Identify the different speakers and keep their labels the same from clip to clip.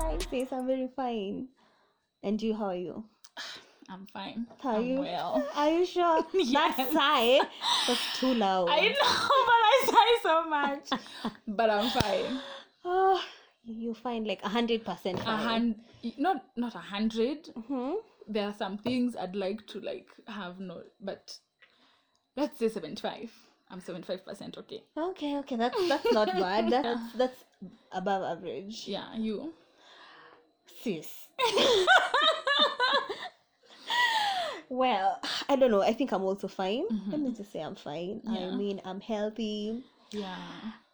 Speaker 1: I'm very fine. And you, how are you?
Speaker 2: I'm fine.
Speaker 1: Are
Speaker 2: I'm
Speaker 1: you?
Speaker 2: well.
Speaker 1: Are you sure? That
Speaker 2: Yes.
Speaker 1: sigh was too loud.
Speaker 2: I know, but I sigh so much. but I'm fine.
Speaker 1: Ah, you find like a hundred percent.
Speaker 2: A hun- not not a hundred.
Speaker 1: Mm-hmm.
Speaker 2: There are some things I'd like to like have no, but let's say seventy-five. I'm seventy-five percent okay.
Speaker 1: Okay, okay, that's that's not bad. That's that's above average.
Speaker 2: Yeah, you.
Speaker 1: Sis. well, I don't know. I think I'm also fine. Let me just say I'm fine. I
Speaker 2: Mm-hmm. Yeah.
Speaker 1: mean, I'm healthy.
Speaker 2: Yeah.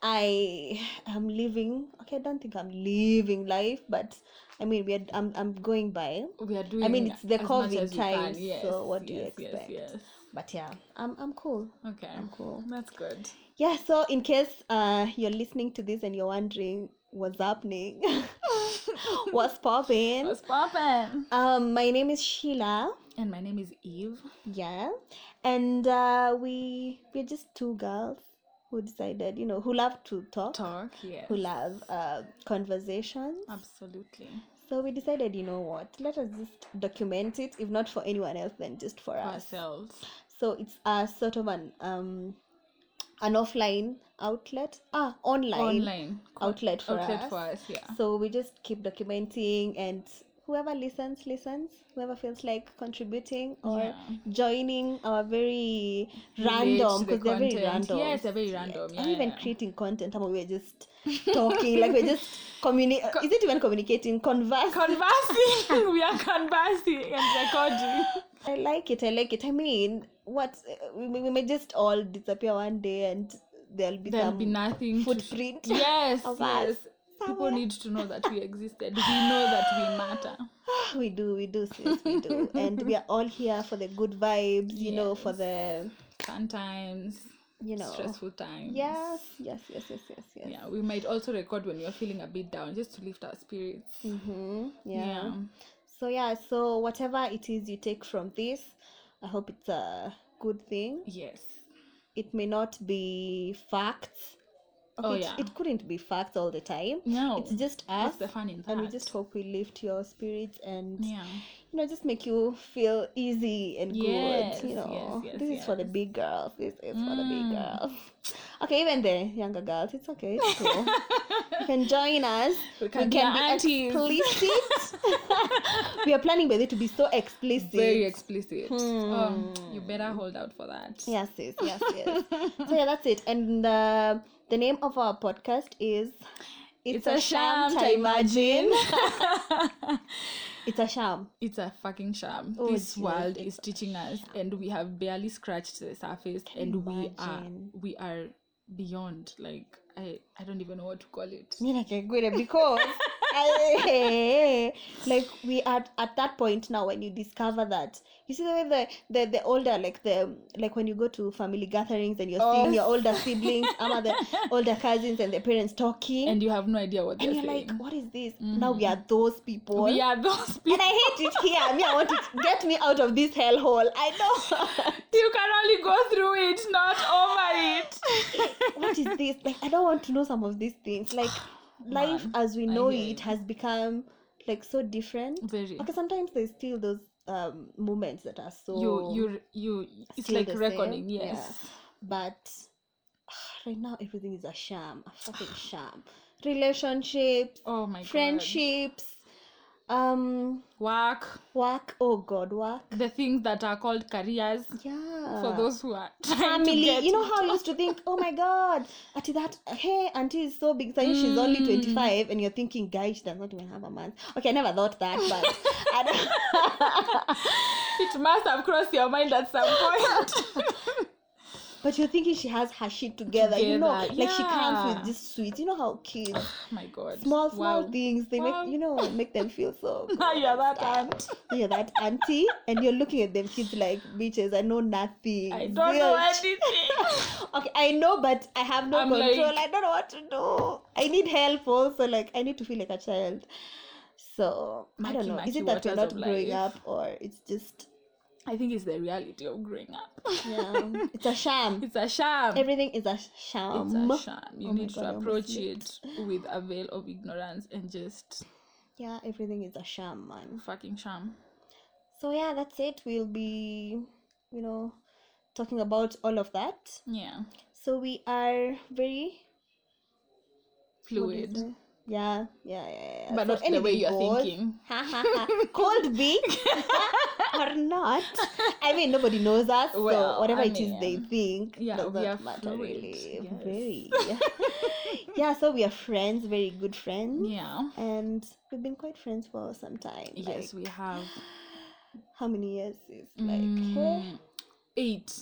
Speaker 1: I am living. Okay, I don't think I'm living life, but I mean, we are. I'm I'm going by.
Speaker 2: We are doing.
Speaker 1: mean, it's the
Speaker 2: as much
Speaker 1: COVID
Speaker 2: as we can.
Speaker 1: times, so
Speaker 2: Yes,
Speaker 1: what do you
Speaker 2: yes,
Speaker 1: expect?
Speaker 2: Yes, yes.
Speaker 1: But yeah, I'm I'm cool.
Speaker 2: Okay.
Speaker 1: I'm cool.
Speaker 2: That's good.
Speaker 1: Yeah. So in case uh you're listening to this and you're wondering what's happening, what's popping?
Speaker 2: What's poppin'?
Speaker 1: Um, my name is Sheila.
Speaker 2: And my name is Eve.
Speaker 1: Yeah, and uh, we we're just two girls who decided, you know, who love to talk,
Speaker 2: Talk. Yes.
Speaker 1: who love uh, conversations.
Speaker 2: Absolutely.
Speaker 1: So we decided, you know what? Let us just document it, if not for anyone else, then just for us.
Speaker 2: Ourselves.
Speaker 1: So it's a sort of an um an offline outlet, ah, online,
Speaker 2: Online.
Speaker 1: outlet for
Speaker 2: Outlet
Speaker 1: us.
Speaker 2: for us. Yeah.
Speaker 1: So we just keep documenting, and whoever listens, listens. Whoever feels like contributing or
Speaker 2: Yeah.
Speaker 1: joining our very
Speaker 2: Relate to
Speaker 1: random,
Speaker 2: the
Speaker 1: because they're very
Speaker 2: content.
Speaker 1: random.
Speaker 2: Yes, they're very random,
Speaker 1: and
Speaker 2: yeah,
Speaker 1: even
Speaker 2: yeah.
Speaker 1: creating content, and we're just talking, like we're just communi- Is it even communicating? Converse.
Speaker 2: conversing. we are conversing and recording.
Speaker 1: I like it. I like it. I mean, what we, we may just all disappear one day, and there'll be
Speaker 2: There'll
Speaker 1: some
Speaker 2: be nothing. to-
Speaker 1: footprint.
Speaker 2: yes.
Speaker 1: of us
Speaker 2: Yes. People
Speaker 1: somewhere.
Speaker 2: need to know that we existed. We know that we matter.
Speaker 1: "Ah, we do, we do, sis, we do, and we are all here for the good vibes. You know, for
Speaker 2: Yes.
Speaker 1: the
Speaker 2: Fun times.
Speaker 1: you know.
Speaker 2: Stressful times.
Speaker 1: Yes, yes, yes, yes, yes, yes.
Speaker 2: Yeah, we might also record when you're feeling a bit down just to lift our spirits.
Speaker 1: Mm-hmm. Yeah. So yeah, so whatever it is you take from this, I hope it's a good thing.
Speaker 2: Yes.
Speaker 1: It may not be facts. Okay,
Speaker 2: Oh,
Speaker 1: it-
Speaker 2: yeah.
Speaker 1: it, couldn't be facts all the time.
Speaker 2: No.
Speaker 1: It's just us.
Speaker 2: What's the fun in that?
Speaker 1: and we just hope we lift your spirits and
Speaker 2: Yeah.
Speaker 1: you know just make you feel easy and
Speaker 2: Yes,
Speaker 1: good you
Speaker 2: yes,
Speaker 1: know
Speaker 2: yes,
Speaker 1: this is for the
Speaker 2: yes.
Speaker 1: big girls this is for the big
Speaker 2: Mm.
Speaker 1: girls okay even the younger girls it's okay it's cool you can join us
Speaker 2: We can be your aunties.
Speaker 1: explicit we are planning by the way to be so explicit
Speaker 2: Very explicit. Um, you
Speaker 1: Hmm.
Speaker 2: better hold out for that.
Speaker 1: yes yes yes yes so yeah that's it and uh, the name of our podcast is
Speaker 2: It's, a, sham, to imagine.
Speaker 1: it's a sham
Speaker 2: it's a fucking sham.
Speaker 1: Oh,
Speaker 2: this
Speaker 1: Jesus,
Speaker 2: world
Speaker 1: it's
Speaker 2: is teaching us, and we have barely scratched the surface, and we are
Speaker 1: imagine?
Speaker 2: we are beyond. Like I, I don't even know what to call it.
Speaker 1: Nina Kegwira because I- like we are at that point now when you discover that you see the way the, the the older like the like when you go to family gatherings and you're
Speaker 2: Oh.
Speaker 1: seeing your older siblings ama the older cousins and their parents talking and,
Speaker 2: And you have no idea what they're
Speaker 1: you're
Speaker 2: saying.
Speaker 1: like what is this now we are those people
Speaker 2: we are those people.
Speaker 1: and I hate it here me I want to get me out of this hellhole I know
Speaker 2: you can only go through it, not over it.
Speaker 1: what is this? Like, I don't want to know some of these things. Like, life
Speaker 2: Man,
Speaker 1: as we
Speaker 2: I
Speaker 1: know
Speaker 2: hear
Speaker 1: it has become like so different.
Speaker 2: Very.
Speaker 1: Okay, sometimes there's still those um moments that are so.
Speaker 2: you you you it's
Speaker 1: still
Speaker 2: like
Speaker 1: the same,
Speaker 2: reckoning
Speaker 1: yeah.
Speaker 2: yes
Speaker 1: But right now, everything is a sham, a fucking sham. Relationships,
Speaker 2: oh my
Speaker 1: friendships, um,
Speaker 2: god work
Speaker 1: work. Oh God, work.
Speaker 2: the things that are called careers
Speaker 1: Yeah.
Speaker 2: for those who are trying to
Speaker 1: Uh, family
Speaker 2: get
Speaker 1: you know
Speaker 2: it.
Speaker 1: how i used to think oh my god auntie that hey auntie is so big so she's
Speaker 2: Mm.
Speaker 1: only 25 and you're thinking guys she does not even have a month okay i never thought that but I don't
Speaker 2: it must have crossed your mind at some point
Speaker 1: but you're thinking she has her shit together, you know
Speaker 2: Together,
Speaker 1: like she comes
Speaker 2: yeah.
Speaker 1: with just sweets you know how kids
Speaker 2: oh my god
Speaker 1: small small
Speaker 2: wow.
Speaker 1: things they
Speaker 2: Wow.
Speaker 1: make you know make them feel so
Speaker 2: now
Speaker 1: good
Speaker 2: you're
Speaker 1: and
Speaker 2: that
Speaker 1: stuff.
Speaker 2: aunt
Speaker 1: you're that auntie and you're looking at them kids like bitches i know nothing
Speaker 2: i don't know
Speaker 1: Zilch."
Speaker 2: anything
Speaker 1: Okay, I know, but I have no
Speaker 2: I'm
Speaker 1: control.
Speaker 2: like-
Speaker 1: I don't know what to do. I need help also. Like I need to feel like a child. So I
Speaker 2: Maki,
Speaker 1: don't know. Is
Speaker 2: maki
Speaker 1: it that we're
Speaker 2: waters
Speaker 1: not
Speaker 2: of
Speaker 1: growing
Speaker 2: life.
Speaker 1: up, or it's just
Speaker 2: i think it's the reality of growing up
Speaker 1: yeah, it's a sham.
Speaker 2: it's a sham
Speaker 1: Everything is a
Speaker 2: it's
Speaker 1: sham.
Speaker 2: a sham you
Speaker 1: Oh my
Speaker 2: need
Speaker 1: God, I
Speaker 2: to
Speaker 1: almost
Speaker 2: approach
Speaker 1: slipped.
Speaker 2: it with a veil of ignorance and just
Speaker 1: yeah everything is a sham man
Speaker 2: Fucking sham.
Speaker 1: so yeah that's it we'll be you know talking about all of that
Speaker 2: Yeah.
Speaker 1: so we are very what do you
Speaker 2: Fluid.
Speaker 1: say? yeah yeah yeah, yeah.
Speaker 2: But
Speaker 1: So
Speaker 2: not the way
Speaker 1: anything
Speaker 2: you're
Speaker 1: goes.
Speaker 2: thinking.
Speaker 1: Ha, ha, ha. could be or not i mean nobody knows us
Speaker 2: Well,
Speaker 1: so whatever
Speaker 2: I
Speaker 1: it is they
Speaker 2: mean,
Speaker 1: think
Speaker 2: yeah,
Speaker 1: does
Speaker 2: we
Speaker 1: not
Speaker 2: are
Speaker 1: matter
Speaker 2: fluid,
Speaker 1: really
Speaker 2: yes.
Speaker 1: very yeah so we are friends very good friends
Speaker 2: Yeah.
Speaker 1: and we've been quite friends for some time
Speaker 2: Yes,
Speaker 1: like,
Speaker 2: we have
Speaker 1: how many years is like eh,
Speaker 2: mm, eight.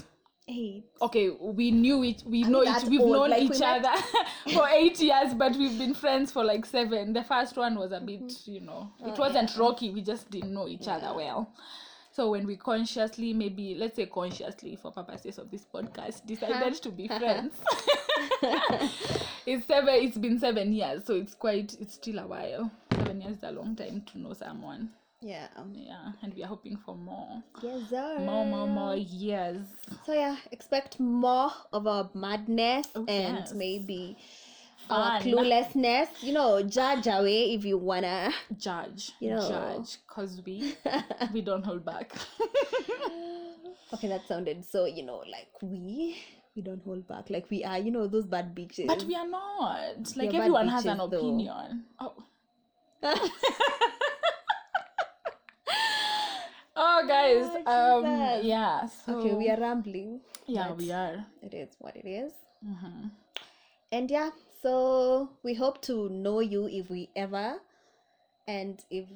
Speaker 1: eight
Speaker 2: Okay, we knew it. We
Speaker 1: Are we
Speaker 2: know it.
Speaker 1: that
Speaker 2: We've
Speaker 1: old?
Speaker 2: known
Speaker 1: Like, we
Speaker 2: each
Speaker 1: met-
Speaker 2: other for eight years, but we've been friends for like seven. The first one was a bit, you know, it
Speaker 1: Oh,
Speaker 2: wasn't rocky. We just didn't know each other well. So when we consciously, maybe let's say consciously, for purposes of this podcast, decided to be friends, it's seven. It's been seven years, so it's quite. It's still a while. Seven years is a long time to know someone.
Speaker 1: yeah um,
Speaker 2: Yeah, and we are hoping for more,
Speaker 1: yes sir.
Speaker 2: more, more, more years.
Speaker 1: so yeah expect more of our madness
Speaker 2: Oh,
Speaker 1: and
Speaker 2: yes.
Speaker 1: maybe our
Speaker 2: Fun.
Speaker 1: cluelessness you know judge away if you wanna
Speaker 2: judge
Speaker 1: You know.
Speaker 2: judge because we we don't hold back
Speaker 1: okay that sounded so you know like we we don't hold back like we are you know those bad bitches
Speaker 2: but we are not like
Speaker 1: bad
Speaker 2: everyone has an
Speaker 1: bitches, though.
Speaker 2: opinion oh oh guys
Speaker 1: Oh,
Speaker 2: um
Speaker 1: Jesus.
Speaker 2: yeah so
Speaker 1: okay we are rambling
Speaker 2: yeah
Speaker 1: but
Speaker 2: we are
Speaker 1: it is what it is Mm-hmm.
Speaker 2: hmm
Speaker 1: and yeah so we hope to know you if we ever and if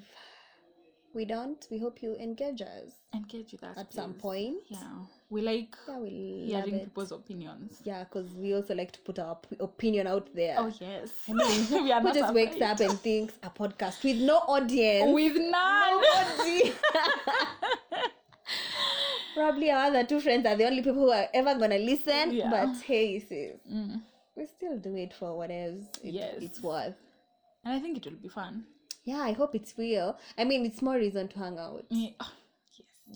Speaker 1: we don't we hope you engage us
Speaker 2: engage with us
Speaker 1: at some
Speaker 2: please.
Speaker 1: point
Speaker 2: yeah we like
Speaker 1: yeah we love
Speaker 2: hearing
Speaker 1: it
Speaker 2: people's opinions
Speaker 1: yeah because we also like to put our op- opinion out there
Speaker 2: oh yes i mean we are
Speaker 1: who
Speaker 2: not
Speaker 1: just wakes
Speaker 2: afraid.
Speaker 1: up Oh, and thinks a podcast with no audience
Speaker 2: with none
Speaker 1: Nobody. Probably our other two friends are the only people who are ever gonna listen.
Speaker 2: Yeah.
Speaker 1: But hey, sis,
Speaker 2: Mm.
Speaker 1: we still do it for whatever it,
Speaker 2: Yes.
Speaker 1: it's worth.
Speaker 2: and i think it will be fun
Speaker 1: Yeah, I hope it's real. I mean, it's more reason to hang out.
Speaker 2: Yeah. Oh,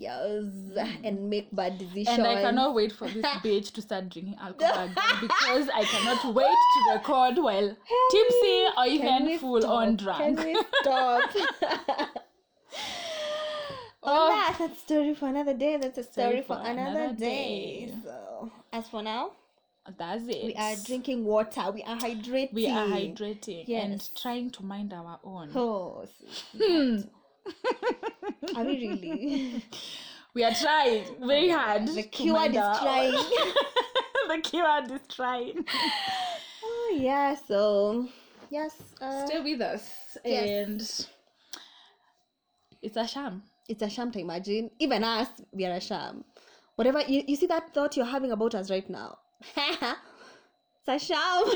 Speaker 1: Yes, and make bad decisions.
Speaker 2: Mm. And I cannot wait for this bitch to start drinking alcohol again because I cannot wait to record while tipsy or
Speaker 1: Can we
Speaker 2: even full on
Speaker 1: stop? Can
Speaker 2: drunk.
Speaker 1: we stop? Well,
Speaker 2: Oh,
Speaker 1: that's a story for another day. That's a story, for, another, day.
Speaker 2: day.
Speaker 1: So, as for now,
Speaker 2: that's it.
Speaker 1: we are drinking water. We are hydrating.
Speaker 2: We are hydrating and
Speaker 1: Yes.
Speaker 2: trying to mind our own.
Speaker 1: Oh, sis,
Speaker 2: Hmm.
Speaker 1: are we really?
Speaker 2: We are trying very hard.
Speaker 1: the
Speaker 2: to
Speaker 1: keyword
Speaker 2: mind
Speaker 1: is
Speaker 2: our own.
Speaker 1: trying.
Speaker 2: the keyword is trying.
Speaker 1: oh yeah. So, yes. Uh,
Speaker 2: Stay with us
Speaker 1: Yes.
Speaker 2: and it's a sham.
Speaker 1: it's a sham to imagine. Even us, we are a sham. Whatever you, you see that thought you're having about us right now. it's a sham.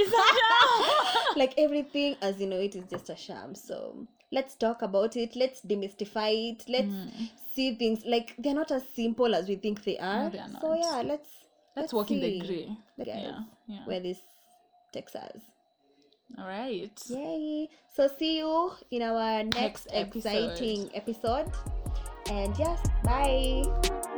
Speaker 1: like everything as you know it is just a sham. So let's talk about it. Let's demystify it. Let's
Speaker 2: Hmm.
Speaker 1: see things like they're not as simple as we think they are.
Speaker 2: they are
Speaker 1: So
Speaker 2: not.
Speaker 1: yeah, let's
Speaker 2: Let's walk in the
Speaker 1: see
Speaker 2: grey.
Speaker 1: Yes.
Speaker 2: Yeah. Yeah.
Speaker 1: where this takes us.
Speaker 2: All right.
Speaker 1: Yay! So see you in our
Speaker 2: Next
Speaker 1: next,
Speaker 2: episode.
Speaker 1: exciting episode. And yes, bye.